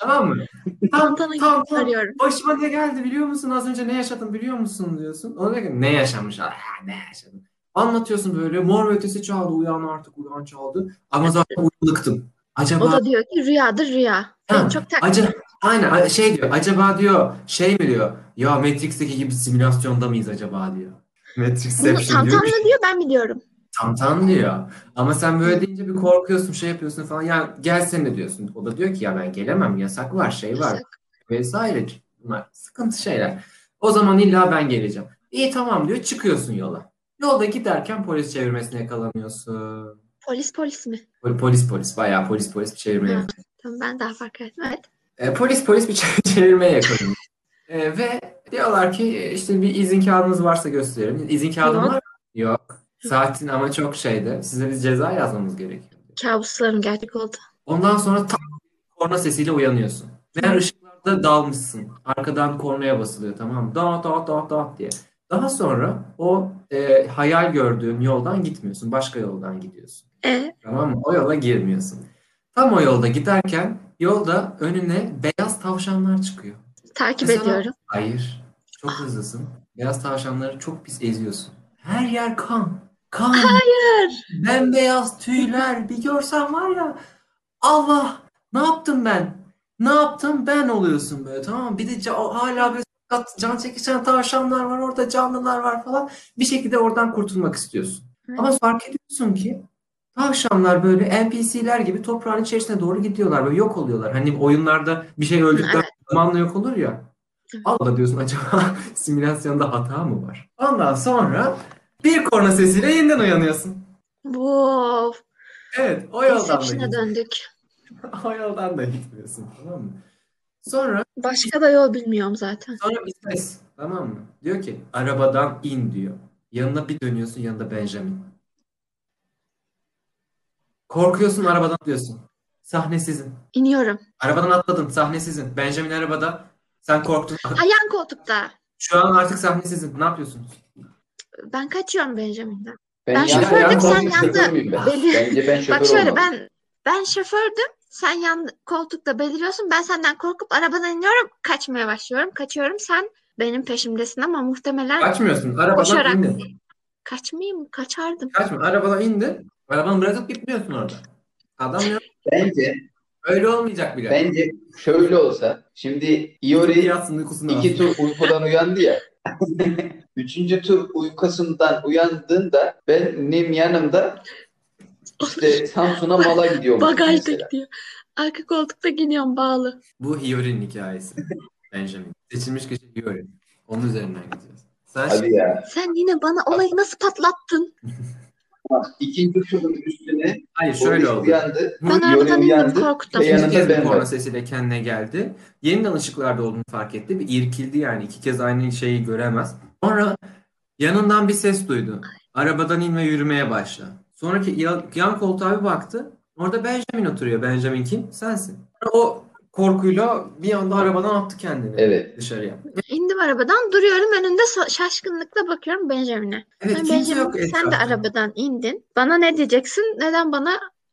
Tamam mı? E, Tam Tantana gibi tam tam sarıyorum. başıma ne geldi biliyor musun? Az önce ne yaşadım biliyor musun diyorsun. Ona diyor ki, ne yaşamış? Aa, ne yaşadım? Anlatıyorsun böyle mor ve ötesi çaldı uyan artık uyan çaldı. Ama zaten uyanıktım. O Acaba da diyor ki rüyadır rüya. Ha, Beni çok taklit acaba aynen a- şey diyor acaba diyor şey mi diyor ya Matrix'teki gibi simülasyonda mıyız acaba diyor. Bunu Matrixception diyor Tantan ne diyor ben biliyorum. tam tam diyor. Ama sen böyle deyince bir korkuyorsun şey yapıyorsun falan ya gelsene diyorsun. O da diyor ki ya ben gelemem yasak var şey var Yasak. vesaire bunlar sıkıntı şeyler. O zaman illa ben geleceğim. İyi tamam diyor çıkıyorsun yola. Yolda giderken polis çevirmesine yakalanıyorsun. Polis polis mi? Pol- Polis polis bayağı polis polis bir çevirmeye. Ha, tamam ben daha fark ettim. Evet. E, polis polis bir çe- çevirmeye yakalanıyor. E, ve diyorlar ki e, işte bir izin kağıdınız varsa gösterin. İzin kağıdın Yok. var mı? Yok. Saatin ama çok şeydi. Size biz ceza yazmamız gerekiyor. Kabuslarım gerçek oldu. Ondan sonra tam korna sesiyle uyanıyorsun. Meğer ışıklarda dalmışsın. Arkadan kornaya basılıyor tamam mı? Da da da da diye. Daha sonra o e, hayal gördüğün yoldan gitmiyorsun. Başka yoldan gidiyorsun. E, Tamam mı? O yola girmiyorsun. Tam o yolda giderken yolda önüne beyaz tavşanlar çıkıyor. takip Mesela- ediyorum. Hayır. Çok hızlısın. Beyaz tavşanları çok pis eziyorsun. Her yer kan. Kan. Hayır. Bembeyaz tüyler. Bir görsen var ya. Allah. Ne yaptım ben? Ne yaptım ben oluyorsun böyle tamam mı? Bir de ca- hala böyle sakat, can çekişen tavşanlar var orada canlılar var falan. Bir şekilde oradan kurtulmak istiyorsun. Evet. Ama fark ediyorsun ki tavşanlar böyle NPC'ler gibi toprağın içerisine doğru gidiyorlar. Böyle yok oluyorlar. Hani oyunlarda bir şey öldükten Evet. zamanla yok olur ya. Allah diyorsun acaba simülasyonda hata mı var? Ondan sonra bir korna sesiyle yeniden uyanıyorsun. Wow. Evet, o yoldan da Inception'a git- döndük. o yoldan da gitmiyorsun tamam mı? Sonra Başka da yol bilmiyorum zaten. sonra bir ses tamam mı? Diyor ki arabadan in diyor. Yanına bir dönüyorsun yanında Benjamin. Korkuyorsun arabadan diyorsun. Sahne sizin. İniyorum. Arabadan atladın sahne sizin. Benjamin arabada. Sen korktun. Ha, yan koltukta. Şu an artık sahne sizin. Ne yapıyorsun? Ben kaçıyorum Benjamin'den. Ben, Ben yan- şofördüm, yan sen koltukta yandın. şoför müyüm Ah, ben? Beli- Bence ben şoför Bak şöyle olmadım. ben ben şofördüm. Sen yan koltukta beliriyorsun. Ben senden korkup arabadan iniyorum. Kaçmaya başlıyorum. Kaçıyorum. Sen benim peşimdesin ama muhtemelen Kaçmıyorsun. Arabadan Koşarak. indin. kaçmayayım. Kaçardım. Kaçma. Arabadan indin. Arabanı bırakıp gitmiyorsun orada. Adam ya Bence, öyle olmayacak bile. bence şöyle olsa şimdi Iori yatsın uykusunu iki tur uykudan uyandı ya. Üçüncü tur uykusundan uyandığında benim yanımda işte Samsun'a mala gidiyorum. Bagajda gidiyor. Arka koltukta gidiyorum bağlı. Bu Hiyori'nin hikayesi. Benjamin. Seçilmiş kişi Hiyori. Onun üzerinden gidiyoruz. Sen Hadi ya. Sen yine bana olayı nasıl patlattın? İkinci turun üstüne hayır polis şöyle oldu. uyandı. Ben Yori arabadan indim uyandı. korkuttum. Ve yanında İkinci kez bir ben korna var. sesiyle kendine geldi. Yeniden ışıklarda olduğunu fark etti. Bir irkildi yani. iki kez aynı şeyi göremez. Sonra yanından bir ses duydu. Arabadan in ve yürümeye başla. Sonraki yan, yan koltuğa bir baktı. Orada Benjamin oturuyor. Benjamin kim? Sensin. O korkuyla bir anda arabadan attı kendini Evet. dışarıya. İndim arabadan duruyorum önünde so- şaşkınlıkla bakıyorum Benjamin'e. Ben Evet kimse Benjamin yok sen de etrafta. arabadan indin. Bana ne diyeceksin? Neden bana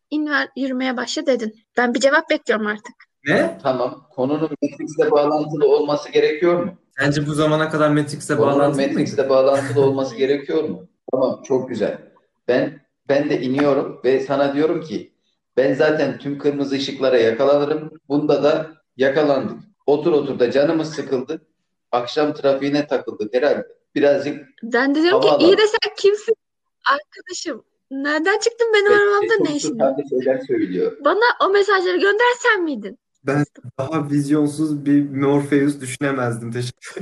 in ve yürümeye başla dedin? Ben bir cevap bekliyorum artık. Ne? Tamam. Konunun Matrix'le bağlantılı olması gerekiyor mu? Sence bu zamana kadar Matrix'e Konunun bağlantılı mıydı? Matrix'le bağlantılı olması gerekiyor mu? Tamam, çok güzel. Ben ben de iniyorum ve sana diyorum ki ben zaten tüm kırmızı ışıklara yakalanırım. Bunda da yakalandık. Otur otur da canımız sıkıldı. Akşam trafiğine takıldık herhalde. Birazcık Ben de diyorum ki Havalı. iyi de sen kimsin? Arkadaşım. Nereden çıktın benim arabamda ne işin? var? Sadece şeyler söylüyor. Bana o mesajları göndersen miydin? Daha vizyonsuz bir Morpheus düşünemezdim. Teşekkür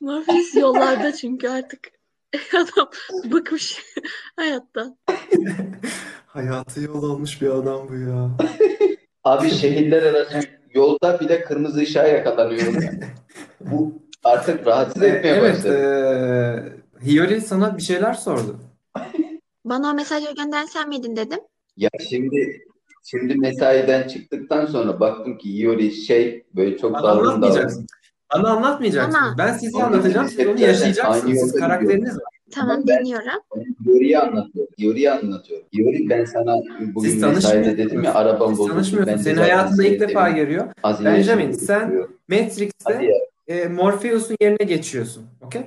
Morpheus yollarda çünkü artık adam bıkmış hayattan. Hayatı yol almış bir adam bu ya. Abi şehirler arası yolda bile kırmızı ışığa yakalanıyorum. Bu artık rahatsız etmeye E, Evet, başladı. eee, Hiyori sana bir şeyler sordu. Bana o mesajları göndersen miydin dedim. Ya şimdi şimdi mesaiden çıktıktan sonra baktım ki Yuri şey böyle çok Bana dalgın dalgın. anlatmayacaksın. Bana anlatmayacaksın. Bana. Ben sizi Bana. anlatacağım, siz onu yaşayacaksınız. Aynı Siz yolda karakteriniz var. Tamam Ben- dinliyorum. Yuri'yi anlatıyor. Yuri'yi anlatıyor. Yuri ben sana bugün Siz mesaide tanışmıyorsunuz. dedim ya arabam Siz bozuldu. Ben tanışmıyorsun. de Seni zaten şey hayatında ilk defa sevdim. görüyor. Az Benjamin, iyileşmek sen- istiyor. Hadi Matrix'te ya. e, Morpheus'un yerine geçiyorsun. Okey?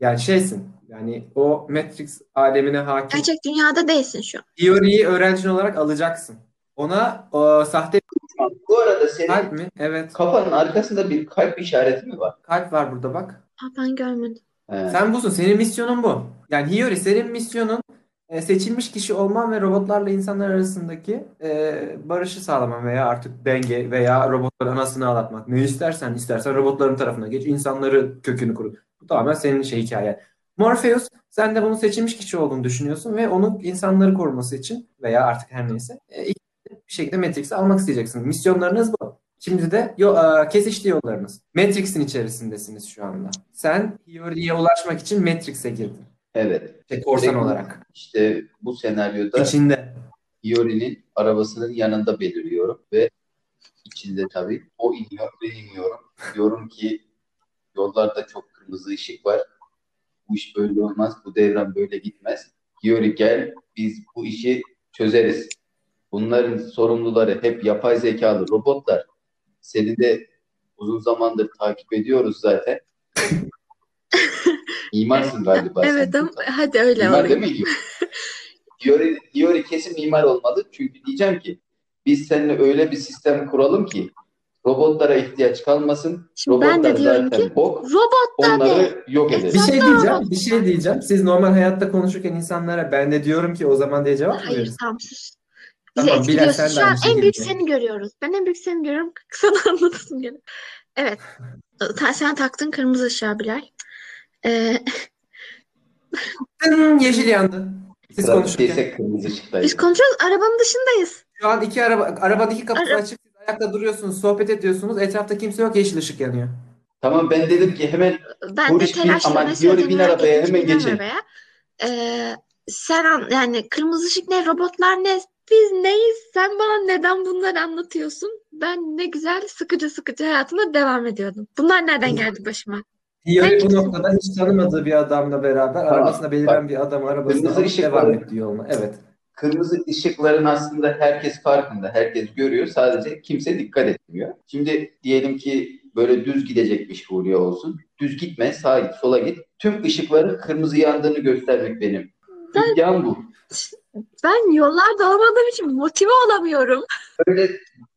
Yani şeysin. Yani o Matrix alemine hakim. Gerçek dünyada değilsin şu an. Theory'yi öğrencin olarak alacaksın. Ona o, sahte bir Bu arada senin kalp mi? Evet. kafanın arkasında bir kalp işareti mi var? Kalp var burada bak. Aa, ben görmedim. He. Sen busun. Senin misyonun bu. Yani Hiyori senin misyonun e, seçilmiş kişi olman ve robotlarla insanlar arasındaki e, barışı sağlaman veya artık denge veya robotların anasını ağlatmak. Ne istersen istersen robotların tarafına geç. insanları kökünü kurut. Bu tamamen senin şey hikayen. Morpheus sen de bunun seçilmiş kişi olduğunu düşünüyorsun ve onun insanları koruması için veya artık her neyse e, bir şekilde Matrix'i almak isteyeceksin. Misyonlarınız bu. Şimdi de yo, e, kesişti yollarınız. Matrix'in içerisindesiniz şu anda. Sen Theory'ye ulaşmak için Matrix'e girdin. Evet. Şey, korsan Direkt- olarak. İşte bu senaryoda İçinde. Yori'nin arabasının yanında beliriyorum ve içinde tabii o iniyor ve iniyorum. Diyorum ki yollarda çok kırmızı ışık var. Bu iş böyle olmaz. Bu devran böyle gitmez. Yori gel biz bu işi çözeriz. Bunların sorumluları hep yapay zekalı robotlar. Seni de uzun zamandır takip ediyoruz zaten. İmansın galiba sen. Evet ama hadi öyle Mimar olayım. değil mi? Diyor, diyor kesin mimar olmalı. Çünkü diyeceğim ki biz seninle öyle bir sistem kuralım ki robotlara ihtiyaç kalmasın. Şimdi ben Robotlar de diyorum zaten ki bok. robot da ne? Onları yok Bir edelim. şey Zaten diyeceğim. robot. Bir şey diyeceğim. Siz normal hayatta konuşurken insanlara ben de diyorum ki o zaman diye cevap mı Hayır verirsiniz? tamam sus. Bizi Tamam, Bilal, sen etkiliyorsun. de Şu an aynı en büyük şekilde. seni görüyoruz. Ben en büyük seni görüyorum. Sana anlatasım gene. Evet. Ta- Sen taktın kırmızı ışığa Bilal. Ee, Tın, yeşil yandı. Siz konuşurken. Trafikteyse kırmızı ışıktaydı. biz konuşuyoruz. Arabanın dışındayız. Şu an iki araba, arabadaki kapısı Ara- açık. Siz ayakta duruyorsunuz, sohbet ediyorsunuz. Etrafta kimse yok, yeşil ışık yanıyor. Tamam ben dedim ki hemen Ben Bu de iş bin- telaşla aman ne diyorum, bin söylediğini merak arabaya, ettim. hemen Binen geçelim. arabaya. Ee, sen an- yani kırmızı ışık ne, robotlar ne, biz neyiz? Sen bana neden bunları anlatıyorsun? Ben ne güzel sıkıcı sıkıcı hayatıma devam ediyordum. Bunlar nereden geldi başıma? Hiyori bu Peki. noktada hiç tanımadığı bir adamla beraber arabasına beliren bir adam arabasına Kırmızı alıp ışık devam var. etti yoluna. Evet. kırmızı ışıkların aslında herkes farkında. Herkes görüyor. Sadece kimse dikkat etmiyor. Şimdi diyelim ki böyle düz gidecekmiş Hulya olsun. Düz gitme. Sağa git, sola git. Tüm ışıkların kırmızı yandığını göstermek benim. İddiam bu. Ben yollarda olmadığım için motive olamıyorum. böyle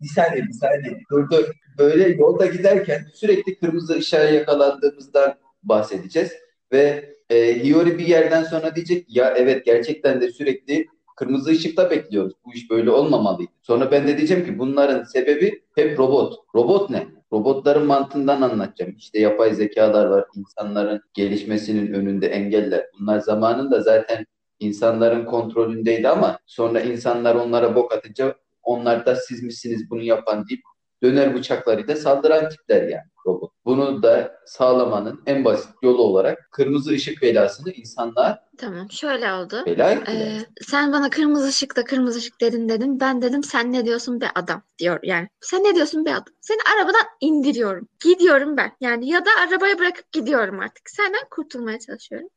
bir saniye bir saniye dur dur. Böyle yolda giderken sürekli kırmızı ışığa yakalandığımızdan bahsedeceğiz. Ve e, Hiyori bir yerden sonra diyecek ya evet gerçekten de sürekli kırmızı ışıkta bekliyoruz. Bu iş böyle olmamalıydı. Sonra ben de diyeceğim ki bunların sebebi hep robot. Robot ne? Robotların mantığından anlatacağım. İşte yapay zekalar var. insanların gelişmesinin önünde engeller. Bunlar zamanında zaten insanların kontrolündeydi ama sonra insanlar onlara bok atınca onlar da siz misiniz bunu yapan deyip döner bıçaklarıyla saldıran tipler yani robot. Bunu da sağlamanın en basit yolu olarak kırmızı ışık belasını insanlığa Tamam, şöyle oldu. bela ettiler. Ee, sen bana kırmızı ışıkta kırmızı ışık dedin dedim. Ben dedim sen ne diyorsun be adam diyor yani. Sen ne diyorsun be adam? Seni arabadan indiriyorum. Gidiyorum ben. Yani ya da arabaya bırakıp gidiyorum artık. Senden kurtulmaya çalışıyorum.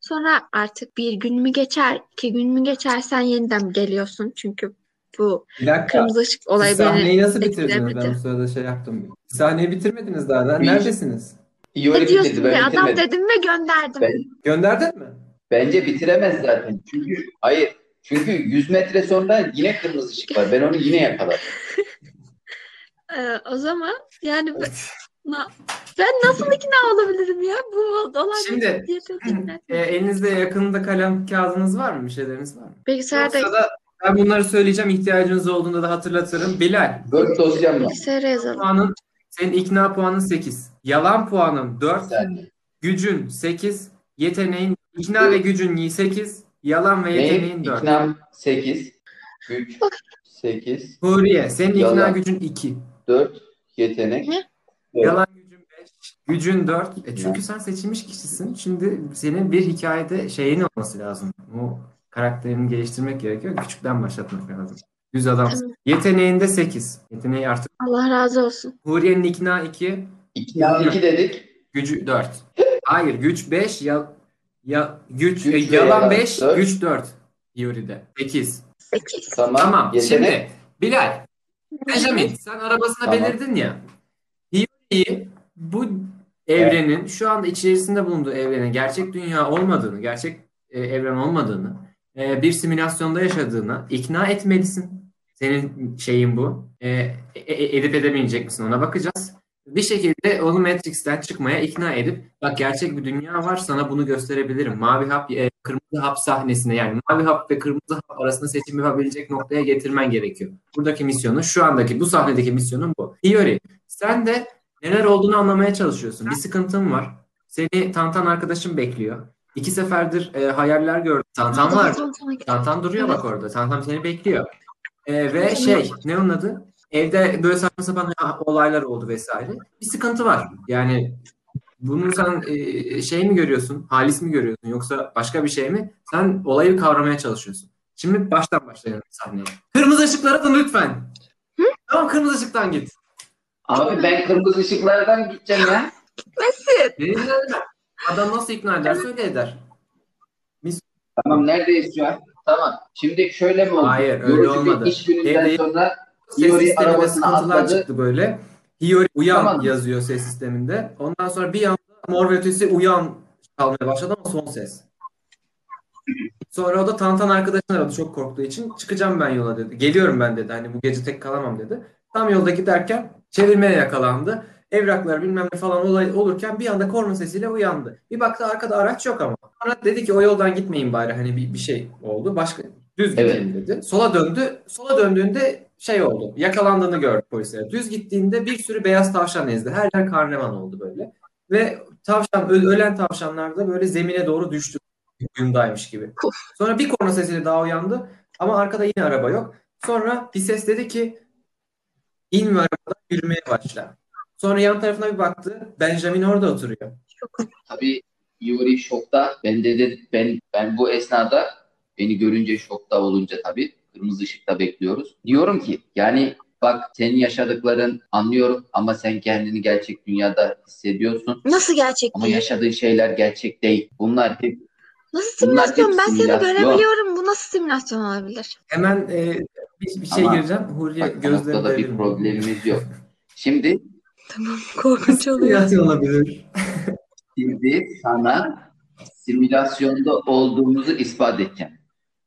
Sonra artık bir gün mü geçer, iki gün mü geçer sen yeniden geliyorsun. Çünkü bu Bir dakika. kırmızı ışık olayı Siz beni sahneyi nasıl bitirdiniz? etkilemedi. Ben bu sırada şey yaptım. Sahneyi bitirmediniz daha. Lan Bir- Neredesiniz? İyi ne öyle diyorsun bitirdi be ben adam bitirmedim. dedim ve gönderdim. Ben- Gönderdin mi? Bence bitiremez zaten. Çünkü hayır. Çünkü 100 metre sonra yine kırmızı ışık var. Ben onu yine yakaladım. Ee, o zaman yani ben, na- ben nasıl ikna olabilirim ya? Bu olay Şimdi- yeterli. E, elinizde yakınında kalem kağıdınız var mı? Bir şeyleriniz var mı? Bilgisayarda Yoksa da ben bunları söyleyeceğim. ihtiyacınız olduğunda da hatırlatırım. Bilal, Dört dosyam var. bilgisayara yazalım. puanın, senin ikna puanın 8. Yalan puanın 4. Bir saniye. Gücün 8. Yeteneğin, ikna ve gücün 8. Yalan ve Neyim? yeteneğin 4. İknam 8. Güç 8. Huriye, senin ikna Yalan. gücün 2. 4. Yetenek. Ne? Evet. Yalan gücün 5. Gücün 4. E çünkü sen seçilmiş kişisin. Şimdi senin bir hikayede şeyin olması lazım. O karakterini geliştirmek gerekiyor. Küçükten başlatmak lazım. Düz adamsın. Yeteneğinde 8. Yeteneği artık. Allah razı olsun. Huriye'nin ikna 2. İknam 2 dedik. Gücü 4. Hayır güç 5. Ya, Ya güç, Güç e, ve yalan yalan 5, dört. güç 4 teoride. 8. 8. Tamam. Tamam. Yetenek. Şimdi Bilal, Benjamin sen arabasına Tamam. belirdin ya. Teoriyi bu evrenin şu anda içerisinde bulunduğu evrenin gerçek dünya olmadığını, gerçek e, evren olmadığını, e, bir simülasyonda yaşadığını ikna etmelisin. Senin şeyin bu. E, e- e- edip edemeyecek misin ona bakacağız. Bir şekilde onu Matrix'ten çıkmaya ikna edip bak gerçek bir dünya var sana bunu gösterebilirim. Mavi hap, e, kırmızı hap sahnesine yani mavi hap ve kırmızı hap arasında seçim yapabilecek noktaya getirmen gerekiyor. Buradaki misyonun şu andaki bu sahnedeki misyonun bu. Theory sen de neler olduğunu anlamaya çalışıyorsun. Bir sıkıntın var. Seni Tantan arkadaşın bekliyor. İki seferdir e, hayaller gördüm. Tantan var. Tantan duruyor bak orada. Tantan seni bekliyor. Ee, ve şey ne onun adı? Evde böyle saçma sapan ha- olaylar oldu vesaire. Bir sıkıntı var. Yani bunu sen e, şey mi görüyorsun? Halis mi görüyorsun? Yoksa başka bir şey mi? Sen olayı kavramaya çalışıyorsun. Şimdi baştan başlayalım sahneye. Kırmızı ışıklara dön lütfen. Tamam kırmızı ışıktan git. Abi ben kırmızı ışıklardan gideceğim ya. Beni dinle. Adam nasıl ikna eder? Söyle eder. Tamam neredeyiz şu an? Tamam. Şimdi şöyle mi oldu? Hayır, öyle Yorucu bir olmadı. iş gününden Evde- sonra Ses Hiyori sisteminde arabasına sıkıntılar atladı. çıktı böyle. Hiyori uyan Tamam. yazıyor ses sisteminde. Ondan sonra bir anda mor ve ötesi uyan çalmaya başladı ama son ses. Sonra o da Tantan arkadaşını aradı çok korktuğu için. Çıkacağım ben yola dedi. Geliyorum ben dedi. Hani bu gece tek kalamam dedi. Tam yolda giderken çevirmeye yakalandı. Evraklar bilmem ne falan olay olurken bir anda korna sesiyle uyandı. Bir baktı arkada araç yok ama. Sonra dedi ki o yoldan gitmeyin bari hani bir, bir şey oldu. Başka düz Evet. gidelim dedi. Sola döndü. Sola döndüğünde şey oldu. Yakalandığını gördü polisler. Düz gittiğinde bir sürü beyaz tavşan ezdi. Her yer karnevan oldu böyle. Ve tavşan ö- ölen tavşanlar da böyle zemine doğru düştü. Uyumdaymış gibi. Sonra bir korna sesiyle daha uyandı. Ama arkada yine araba yok. Sonra bir ses dedi ki in ve arabadan yürümeye başla. Sonra yan tarafına bir baktı. Benjamin orada oturuyor. Tabii Yuri şokta. Ben de dedim ben ben bu esnada beni görünce şokta olunca tabii kırmızı ışıkta bekliyoruz. Diyorum ki yani bak senin yaşadıkların anlıyorum ama sen kendini gerçek dünyada hissediyorsun. Nasıl gerçek Ama değil? yaşadığın şeyler gerçek değil. Bunlar hep Nasıl Bunlar simülasyon? hep Ben seni simülasyon. görebiliyorum. Bu nasıl simülasyon olabilir? Hemen e, bir, bir şey Ama gireceğim. Huriye bak bu noktada bir gözlerini problemimiz yok. Şimdi Tamam, korkunç oluyor. Simülasyon olabilir. Şimdi sana simülasyonda olduğumuzu ispat edeceğim.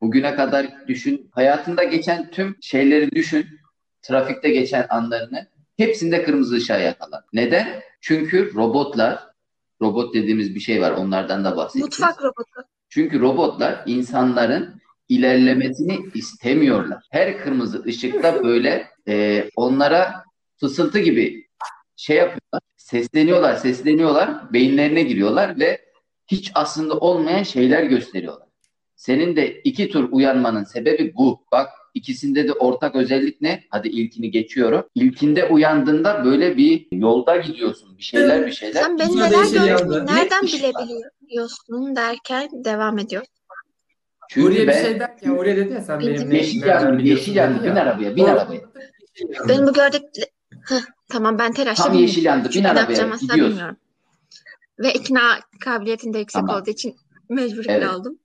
Bugüne kadar düşün, hayatında geçen tüm şeyleri düşün, trafikte geçen anlarını, hepsinde kırmızı ışığa yakalan. Neden? Çünkü robotlar, robot dediğimiz bir şey var, onlardan da bahsedeceğiz. Mutfak robotu. Çünkü robotlar insanların ilerlemesini istemiyorlar. Her kırmızı ışıkta böyle e, onlara fısıltı gibi şey yapıyorlar. Sesleniyorlar, sesleniyorlar, beyinlerine giriyorlar ve hiç aslında olmayan şeyler gösteriyorlar. Senin de iki tur uyanmanın sebebi bu. Bak ikisinde de ortak özellik ne? Hadi ilkini geçiyorum. İlkinde uyandığında böyle bir yolda gidiyorsun. Bir şeyler bir şeyler. Sen beni Bizim neler değişik gördüğünü yanda. nereden şey Ne iş var? bilebiliyorsun derken devam ediyor. Çünkü Huriye bir ben şey der ya. Huriye dedi ya sen benim ne yeşil nereden yandı, biliyorsun yeşil yandı. dedi Bin ya. arabaya, bin O- arabaya. Yeşil yandı. Benim bu gördük... Heh, tamam ben telaşlıyım. Tam yeşil yandı. Bin Ne arabaya yapacağım aslında gidiyorsun. bilmiyorum. Ve ikna kabiliyetim de yüksek Tamam. olduğu için mecbur Evet. ikna oldum.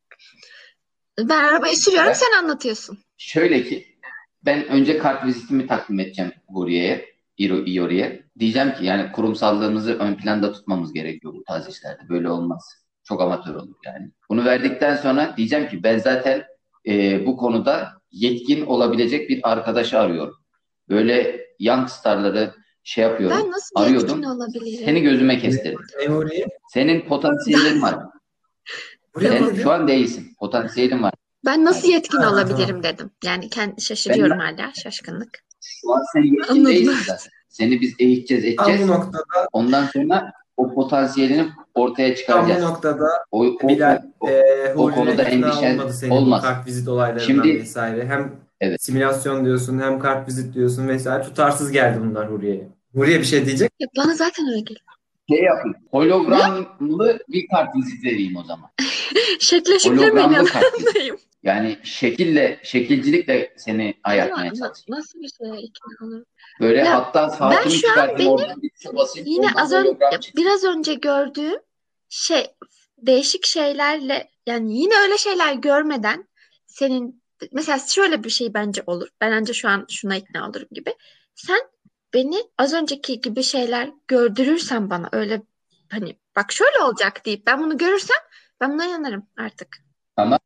Ben arabayı sürüyorum, Evet. sen anlatıyorsun. Şöyle ki ben önce kart vizitimi takdim edeceğim Huriye'ye, İro, İyori'ye. Diyeceğim ki yani kurumsallığımızı ön planda tutmamız gerekiyor bu tarz işlerde. Böyle olmaz. Çok amatör olur yani. Bunu verdikten sonra diyeceğim ki ben zaten e, bu konuda yetkin olabilecek bir arkadaşı arıyorum. Böyle youngstarları şey yapıyorum. Ben nasıl Arıyordum. yetkin olabilirim? Seni gözüme kestirim. E, Huriye. Senin potansiyelin var. Huriye Sen dedi. şu an değilsin. Potansiyelin var. Ben nasıl yetkin Ha, olabilirim dedim. Yani kendi şaşırıyorum hala şaşkınlık. Şu an sen yetkin Anladım. değilsin zaten. Seni biz eğiteceğiz, Tam bu edeceğiz. noktada, Ondan sonra o potansiyelini ortaya tam bu çıkaracağız. noktada O, o, Bilal, o- e, o Huriye konuda ikna endişen olmadı senin olmaz. kart vizit olaylarından Şimdi- vesaire. Hem Evet. simülasyon diyorsun hem kart vizit diyorsun vesaire. Tutarsız geldi bunlar Huriye'ye. Huriye bir şey diyecek. Ya bana zaten öyle geliyor. şey yapayım. Hologramlı bir kart vizit vereyim o zaman. Şekle şükür mü Hologramlı kart vizit. inanmalıyım? Yani şekille, şekilcilikle seni ayartmaya Ama çalışayım. Nasıl bir şeye ikna olurum? Böyle Ya, hatta saatimi şu an çıkartayım benim- oradan bir tuşa şey basayım. Yine oradan az önce, hologram çıksın. biraz önce gördüğüm şey değişik şeylerle yani yine öyle şeyler görmeden senin mesela şöyle bir şey bence olur. Ben ancak şu an şuna ikna olurum gibi. Sen beni az önceki gibi şeyler gördürürsen bana öyle hani bak şöyle olacak deyip ben bunu görürsem ben buna inanırım artık. Tamam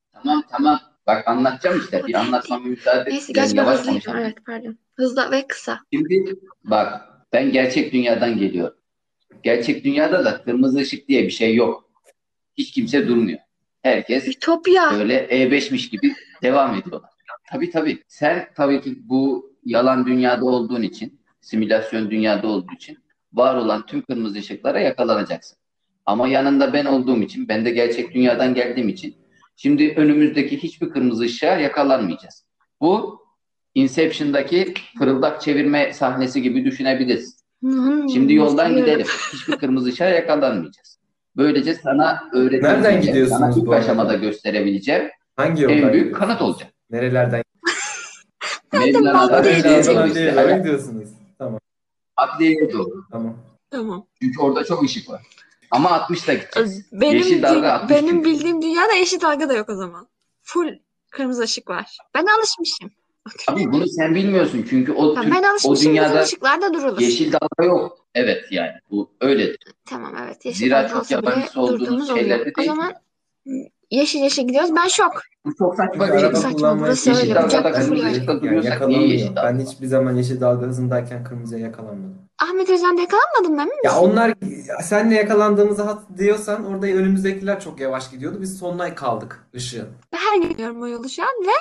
tamam. Bak anlatacağım işte. Bir anlatmama müsaade Neyse edin. gerçi ben Yavaş hızlıyım. konuşalım. Evet pardon. Hızlı ve kısa. Şimdi bak ben gerçek dünyadan geliyorum. Gerçek dünyada da kırmızı ışık diye bir şey yok. Hiç kimse durmuyor. Herkes Ütopya. böyle E5'miş gibi devam ediyorlar. Tabii tabii. Sen tabii ki bu yalan dünyada olduğun için, simülasyon dünyada olduğu için var olan tüm kırmızı ışıklara yakalanacaksın. Ama yanında ben olduğum için, ben de gerçek dünyadan geldiğim için şimdi önümüzdeki hiçbir kırmızı ışığa yakalanmayacağız. Bu Inception'daki fırıldak çevirme sahnesi gibi düşünebilirsin. Hmm, Şimdi yoldan seviyorum. gidelim. Hiçbir kırmızı ışığa yakalanmayacağız. Böylece sana öğretebileceğim, Nereden gidiyorsunuz sana ilk bu arada? aşamada gösterebileceğim Hangi en yoldan büyük gidiyorsunuz? kanıt olacak. Nerelerden? Adliye'ye Mevlana'dan Adliyeye Adliye'ye Nereden gidiyorsunuz? doğru adliyeye işte. doğru Evet, gidiyorsunuz. Tamam. Adliyeye doğru. Tamam. Tamam. Çünkü orada çok ışık var. Ama 60'la gideceğiz. Benim, Yeşil dalga dü- atmış benim çünkü. bildiğim dünyada yeşil dalga da yok o zaman. Full kırmızı ışık var. Ben alışmışım. Abi bunu sen bilmiyorsun çünkü o Tamam, tür- ben alışmışım. dünyada Bizim ışıklarda durulur. yeşil dalga yok. Evet yani bu öyle. Tamam evet. Yeşil Zira dalga çok olsa bile yabancısı olduğumuz durduğumuz şeylerde oluyor. O değil. zaman yeşil yeşil gidiyoruz. Ben şok. Bu çok saçma Çünkü bir araba şey. Saçma, kullanmayı burası öyle, bilmiyorum. bıçakla Ben fırlıyor. de- Bıçakla yani duruyorsak yakalanmıyor. niye Ben yeşil dalga? hiçbir zaman yeşil dalga hızındayken kırmızıya yakalanmadım. Ahmet Özcan'da yakalanmadın mı? emin Ya misin? onlar senle yakalandığımızı hat diyorsan orada önümüzdekiler çok yavaş gidiyordu. Biz sonuna kaldık ışığın. Ben her gün gidiyorum o yolu şu an ve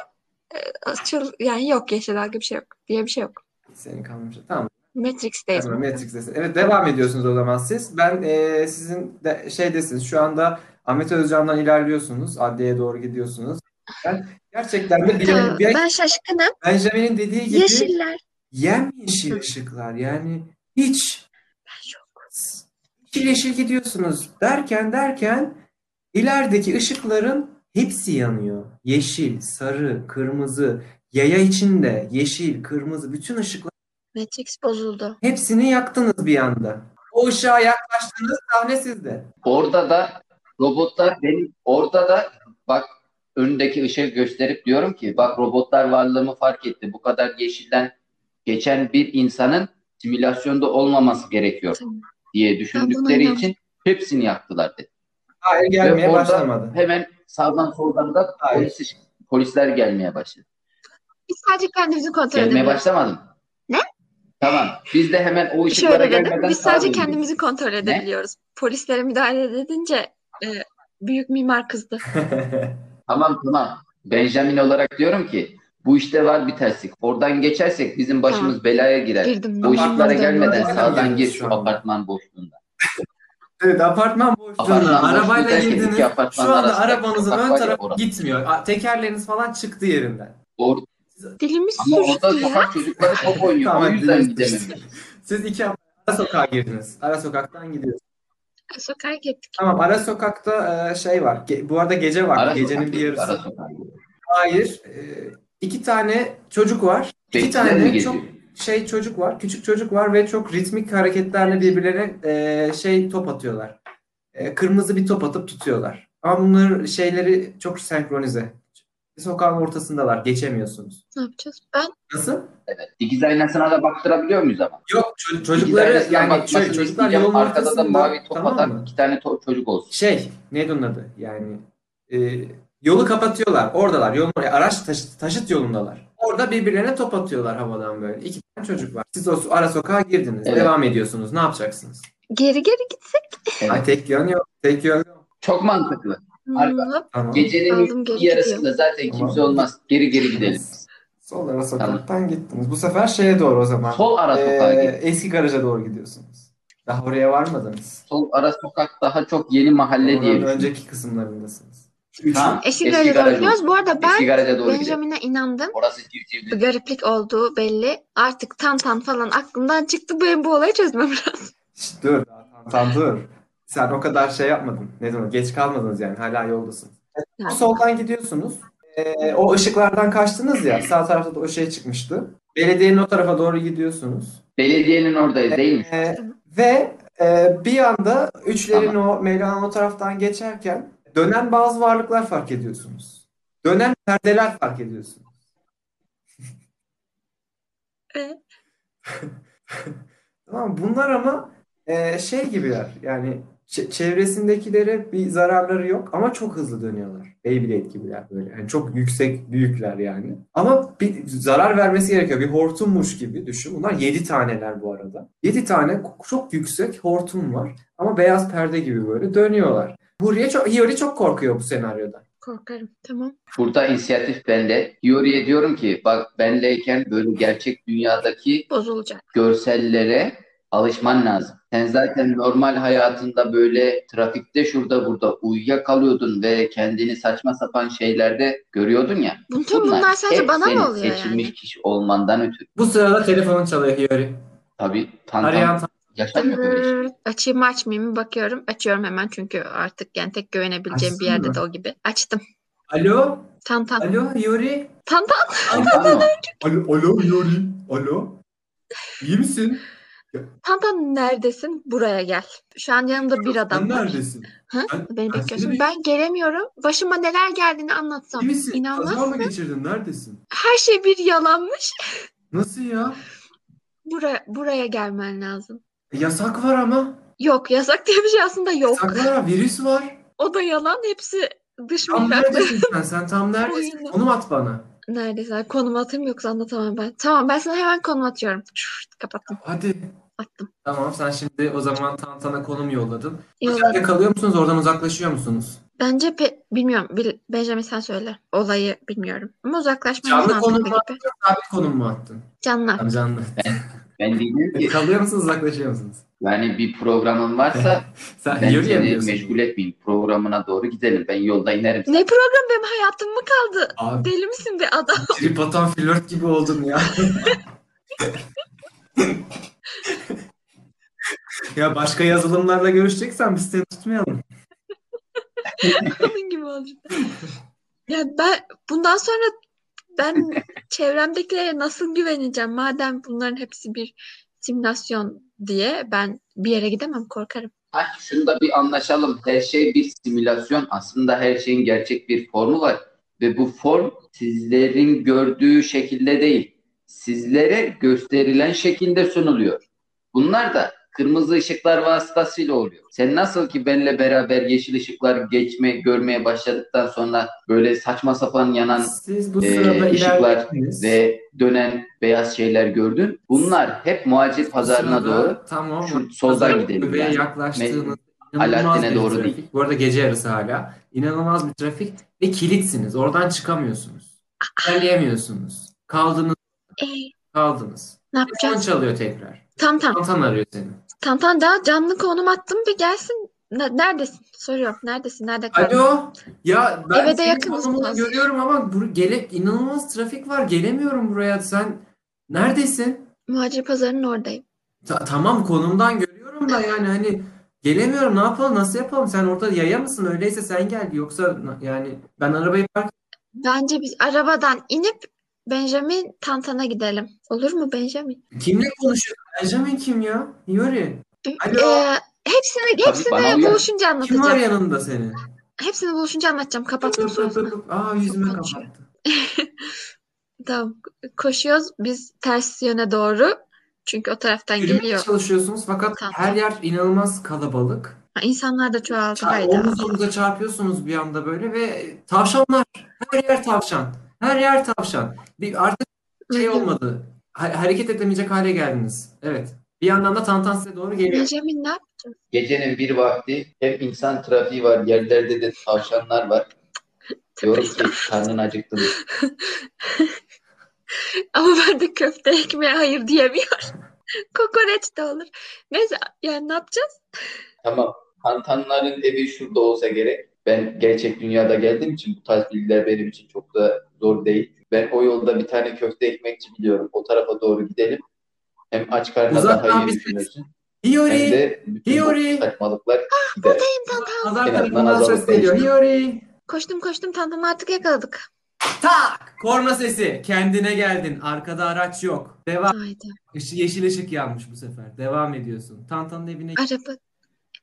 e, açıl, yani yok yeşil dalga bir şey yok diye bir şey yok. Senin kalmış. Tamam. Matrix'teyiz. Tamam, Matrix'desin. Evet devam ediyorsunuz o zaman siz. Ben eee, sizin de, şeydesiniz. Şu anda Ahmet Özcan'dan ilerliyorsunuz. Adliyeye doğru gidiyorsunuz. Ben gerçekten de bilemedim. Ee, Bir- Ben şaşkınım. Benjamin'in dediği gibi Yeşiller. yemyeşil ışıklar. Yani hiç Ben şok. yeşil yeşil gidiyorsunuz derken derken ilerideki ışıkların hepsi yanıyor. Yeşil, sarı, kırmızı, yaya içinde yeşil, kırmızı bütün ışıklar Matrix bozuldu. hepsini yaktınız bir anda. O ışığa yaklaştığınız sahne sizde. Orada da robotlar benim orada da bak önündeki ışığı gösterip diyorum ki bak robotlar varlığımı fark etti. Bu kadar yeşilden geçen bir insanın simülasyonda olmaması gerekiyor Tamam. diye düşündükleri inanmıyorum. için hepsini yaktılar dedi. Hayır Ve gelmeye orada başlamadı. Hemen sağdan soldan da Hayır. polis iş- polisler gelmeye başladı. Biz sadece kendimizi kontrol Gelmeye edebiliyoruz. başlamadı mı? Ne? Tamam. Biz de hemen o ışıklara Şöyle dedim. gelmeden Biz sadece sağa döndük. kendimizi kontrol edebiliyoruz. Polislere müdahale edince e, büyük mimar kızdı. Tamam tamam. Benjamin olarak diyorum ki bu işte var bir terslik. Oradan geçersek bizim başımız belaya girer. Girdim. Bu Tamam, ışıklara anladım. gelmeden Tamam, sağdan anladım. gir şu Şu anda. apartman boşluğunda. Evet, apartman boşluğuna Apartman boşluğu arabayla derken iki girdiniz. Şu apartmanın anda arasındaki arabanızın sokak ön var ya tarafı orası. gitmiyor. A- Tekerleriniz falan çıktı yerinden. Or- Dilimiz ama orada sürçtü ya. sokak çocukları top oynuyor. Tamam, o yüzden dinlemiştim. gidememiş. Siz iki ara sokağa girdiniz. Ara sokaktan gidiyorsunuz. Sokağa gittik. Tamam ara sokakta e, şey var. Ge- bu arada gece var. Ara Gecenin sokak bir yok, yarısı. Ara sokak. yok. Hayır. e, iki tane çocuk var. İki Bekçiler tane mi çok geziyor? şey çocuk var. Küçük çocuk var ve çok ritmik hareketlerle birbirlerine e, şey top atıyorlar. E, kırmızı bir top atıp tutuyorlar. Ama bunlar şeyleri çok senkronize. Sokağın ortasındalar. Geçemiyorsunuz. Ne yapacağız? Ben Nasıl? Evet. Dikiz aynasına da baktırabiliyor muyuz ama? Yok ço- Dikiz çocukları aynasına yani bakmasını şöyle çocuklar isteyeceğim. yolun Arkada da ortasında mavi top tamam atan mı? iki tane to- çocuk olsun. şey neydi onun adı yani e, yolu kapatıyorlar oradalar yolun oraya araç taşıt, taşıt yolundalar orada birbirlerine top atıyorlar havadan böyle iki tane çocuk var siz o ara sokağa girdiniz Evet. devam ediyorsunuz ne yapacaksınız geri geri gitsek. Evet. Ay tek yön yok tek yön yok Çok mantıklı. Harika. Hmm, hop, tamam Gecenin Aldım, bir geri yarısında zaten Tamam. kimse olmaz. Geri geri gidelim. sol ara sokaktan gittiniz bu sefer şeye doğru o zaman Sol ara Ee, sokağa git. eski garaja doğru gidiyorsunuz daha oraya varmadınız Sol ara sokak daha çok yeni mahalle diye Oranın düşün. önceki kısımlarındasınız Üçlü- Tamam. Eski Eski garaja doğru garaja gidiyoruz. Bu arada Eski ben garaja doğru gidelim. Benjamin'e inandım. Orası civcivli. Bir gariplik olduğu belli. Artık tan tan falan aklımdan çıktı. Benim bu olayı çözmem lazım. Şşt, dur. Tamam dur. Sen o kadar şey yapmadın. Ne demek? Geç kalmadınız yani. Hala yoldasın. Yani Soldan gidiyorsunuz. Ee, o ışıklardan kaçtınız ya. Sağ tarafta da o şey çıkmıştı. Belediyenin o tarafa doğru gidiyorsunuz. Belediyenin oradayız değil mi? Ee, ve Ee, bir anda üçlerin o Mevlana'nın o taraftan geçerken dönen bazı varlıklar fark ediyorsunuz. Dönen perdeler fark ediyorsunuz. E? Tamam mı? bunlar ama e, şey gibiler yani ç- çevresindekilere bir zararları yok ama çok hızlı dönüyorlar. Beyblade gibiler böyle. Yani çok yüksek büyükler yani. Ama bir zarar vermesi gerekiyor. Bir hortummuş gibi düşün. Bunlar 7 taneler bu arada. 7 tane çok yüksek hortum var ama beyaz perde gibi böyle dönüyorlar. Buraya çok, Hiyori çok korkuyor bu senaryoda. Korkarım. Tamam. Burada inisiyatif bende. Yuri'ye diyorum ki bak benleyken böyle gerçek dünyadaki Bozulacak. görsellere alışman lazım. Sen zaten normal hayatında böyle trafikte şurada burada uyuyakalıyordun ve kendini saçma sapan şeylerde görüyordun ya. Bütün bunlar, sadece hep bana senin mı oluyor seçilmiş yani? kişi olmandan ötürü. Bu sırada telefonun çalıyor Hiyori. Tabii tam Arayan tam yaşamıyor böyle şey. Hmm, Açayım mı açmayayım mı bakıyorum. Açıyorum hemen çünkü artık yani tek güvenebileceğim bir Açsın yerde mı? de o gibi. Açtım. Alo? Tan tan. Alo Hiyori? Tan tan. Tamam mı? Alo, alo Hiyori. Alo. İyi misin? Tan tan neredesin? Buraya gel. Şu an yanımda bir adam var. neredesin? Beni Ben bekliyorsun. seni Ben gelemiyorum. Başıma neler geldiğini anlatsam. İyi misin? İnanmaz Kaza mı geçirdin? Neredesin? Her şey bir yalanmış. Nasıl ya? Buraya, buraya gelmen lazım. E, Yasak var ama. Yok yasak diye bir şey aslında yok. Yasak var ama virüs var. O da yalan. Hepsi dış Tam mihrak. neredesin sen? Sen tam neredesin? Aynen. Konum at bana. Neredeyse. Ay, Konum atayım yoksa anlatamam ben. Tamam ben sana hemen konum atıyorum. Şşt, kapattım. Hadi. Attım. Tamam sen şimdi o zaman Tantan'a konum yolladın. Yolladım. Yakalıyor musunuz? Oradan uzaklaşıyor musunuz? Bence pe- bilmiyorum. Bil- Benjamin sen söyle. Olayı bilmiyorum. Ama uzaklaşma Canlı mantıklı konum gibi. Sabit konum mu attın? Canlar. Tamam canlı. Ben diyeyim ki Yakalıyor musunuz? Uzaklaşıyor musunuz? yani bir programın varsa Sen ben Hiyori'ye mi seni diyorsun? meşgul etmeyeyim. Programına doğru gidelim. Ben yolda inerim. Ne program benim hayatım mı kaldı? Abi Deli misin be adam? trip atan flört gibi oldun ya. ya başka yazılımlarla görüşeceksen biz seni tutmayalım. Onun gibi olacak. Ya ben bundan sonra ben çevremdekilere nasıl güveneceğim? Madem bunların hepsi bir simülasyon diye ben bir yere gidemem korkarım. Ay şunu da bir anlaşalım. Her şey bir simülasyon. Aslında her şeyin gerçek bir formu var. Ve bu form sizlerin gördüğü şekilde değil. Sizlere gösterilen şekilde sunuluyor. Bunlar da kırmızı ışıklar vasıtasıyla oluyor. Sen nasıl ki benimle beraber yeşil ışıklar geçme, görmeye başladıktan sonra böyle saçma sapan yanan Siz bu Ee, sırada ışıklar ilerlediniz. ve dönen beyaz şeyler gördün. Bunlar hep muacir pazarına Sırada doğru. Tamam. Şu soldan Pazar gidelim kulübeye yani. yaklaştığınız inanılmaz Alaaddin'e bir doğru trafik. değil. Bu arada gece yarısı hala. İnanılmaz bir trafik ve kilitsiniz. Oradan çıkamıyorsunuz. İlerleyemiyorsunuz. Kaldınız, E, kaldınız. ne Can yapacağız? çalıyor tekrar. Tam tam. Tantan arıyor seni. Tam tam daha canlı konum attım bir gelsin. Ne- Neredesin? Soruyorum. Neredesin? Nerede kaldın? Alo. Ya ben Eve de senin yakınız konumunu biraz. görüyorum ama bur gele inanılmaz trafik var. Gelemiyorum buraya. Sen neredesin? Muhacir pazarının oradayım. Ta- tamam konumdan görüyorum da yani hani gelemiyorum. Ne yapalım? Nasıl yapalım? Sen orada yaya mısın? Öyleyse sen gel. Yoksa na- yani ben arabayı park Bence biz arabadan inip Benjamin Tantan'a gidelim. Olur mu Benjamin? Kimle konuşuyorsun? Benjamin kim ya? Yuri. Alo. Ee, hepsini bana hepsini uyar. buluşunca Kim var anlatacağım. yanında seni? Hepsini buluşunca anlatacağım. Kapattım Pıp pıp sonra. pıp pıp. Aa yüzüme konuşuyor. kapattı. Tamam. Koşuyoruz. Biz ters yöne doğru. Çünkü o taraftan Yürümeye geliyor. çalışıyorsunuz fakat Tamam. her yer inanılmaz kalabalık. Ha, İnsanlar da çoğaldı. Çar- Hayda. Omuz omuza çarpıyorsunuz bir anda böyle ve tavşanlar. Her yer tavşan. Her yer tavşan. Bir artık şey Benjamin- olmadı. Ha- hareket edemeyecek hale geldiniz. Evet. Bir yandan da Tantan size doğru geliyor. Benjamin ne? yap- Gecenin bir vakti hem insan trafiği var, yerlerde de tavşanlar var. Diyorum ki karnın acıktı mı? Ama ben de köfte ekmeğe hayır diyemiyorum. Kokoreç de olur. Neyse yani ne yapacağız? Tamam. Kantanların evi şurada olsa gerek. Ben gerçek dünyada geldiğim için bu tarz bilgiler benim için çok da zor değil. Ben o yolda bir tane köfte ekmekçi biliyorum. O tarafa doğru gidelim. Hem aç karnına Uzaktan daha iyi bir ses. düşünürsün. Hem Hiyori. de bütün bu Yuri. Ah, saçmalıklar gider. Tantan. Pazar En azından tarafından ses azaldı. geliyor. Hiyori. Koştum koştum Tantan'ı artık yakaladık. Tak! Korna sesi. Kendine geldin. Arkada araç yok. Devam. Haydi. Işı- Yeşil ışık yanmış bu sefer. Devam ediyorsun. Tantan'ın evine Araba.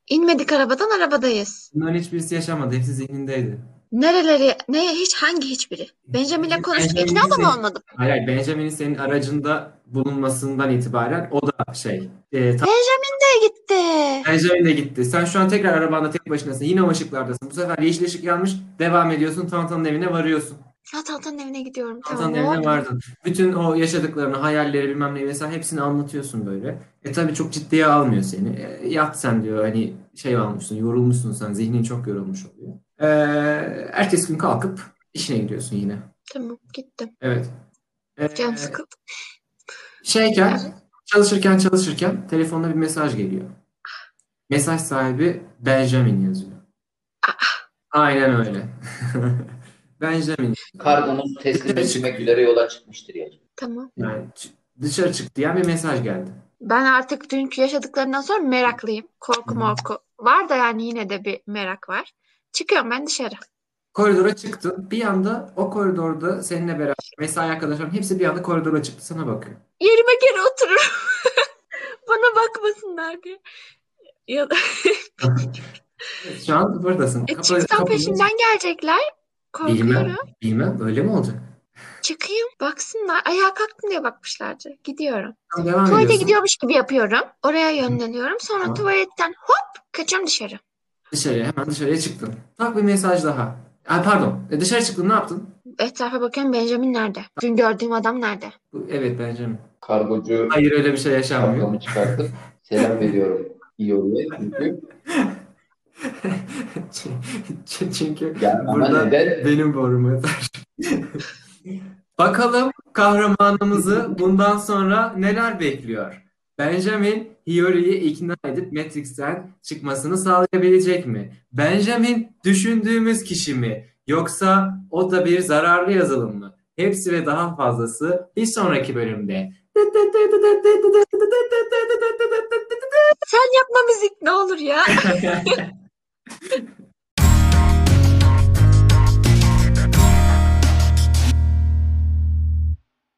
İnmedik arabadan arabadayız. Bunların hiçbirisi yaşamadı. Hepsi zihnindeydi. Nereleri, ne hiç hangi hiçbiri? Benjamin'le konuştuk. Benjamin'in İkna da mı seni- olmadım? Hayır, hayır. Benjamin'in senin aracında bulunmasından itibaren o da şey. E, tam- Benjamin de gitti. Benjamin de gitti. Sen şu an tekrar arabanda tek başınasın. Yine o ışıklardasın. Bu sefer yeşil ışık yanmış. Devam ediyorsun. Tantan'ın evine varıyorsun. Ha, Tantan'ın evine gidiyorum. Tamam. Tantan'ın ne evine oldu? vardın. Bütün o yaşadıklarını, hayalleri bilmem ne vesaire hepsini anlatıyorsun böyle. E tabii çok ciddiye almıyor seni. E, yat sen diyor hani şey almışsın, yorulmuşsun sen. Zihnin çok yorulmuş oluyor. E, ertesi gün kalkıp işine gidiyorsun yine. Tamam gittim. Evet. E, Canım sıkıldı. şeyken çalışırken çalışırken telefonda bir mesaj geliyor. Mesaj sahibi Benjamin yazıyor. Aynen öyle. Benjamin. Kargonun teslim edilmek üzere yola çıkmıştır yani. Tamam. Yani ç- dışarı çık diyen bir mesaj geldi. Ben artık dünkü yaşadıklarından sonra meraklıyım. Korku Hı. morku. Var da yani yine de bir merak var. Çıkıyorum ben dışarı. Koridora çıktı. Bir anda o koridorda seninle beraber mesai arkadaşların hepsi bir anda koridora çıktı sana bakıyor. Yerime geri otururum. Bana bakmasınlar diye. Ya da Evet, Şu an buradasın. E, Kapı- çıksam kapı- peşimden gelecekler. Bilmem, Korkuyorum. bilmem öyle mi olacak? Çıkayım baksınlar. Ayağa kalktım diye bakmışlardı. Gidiyorum. Tamam, devam Tuvalete ediyorsun. gidiyormuş gibi yapıyorum. Oraya yönleniyorum. Sonra Tamam. tuvaletten hop kaçıyorum dışarı. Dışarıya hemen dışarıya çıktın. Tak bir mesaj daha. Ay, pardon. E, dışarı çıktın ne yaptın? Etrafa bakıyorum Benjamin nerede? Dün gördüğüm adam nerede? Bu- Evet Benjamin. Kargocu Hayır öyle bir şey yaşanmıyor. kavramı çıkartıp selam veriyorum. İyi oluyor çünkü Çünkü- Çünkü yani ama Burada- neden benim borum yeter. Bakalım kahramanımızı bundan sonra neler bekliyor? Benjamin Hiyori'yi ikna edip Matrix'ten çıkmasını sağlayabilecek mi? Benjamin düşündüğümüz kişi mi? Yoksa o da bir zararlı yazılım mı? Hepsi ve daha fazlası bir sonraki bölümde. Sen yapma müzik ne olur ya.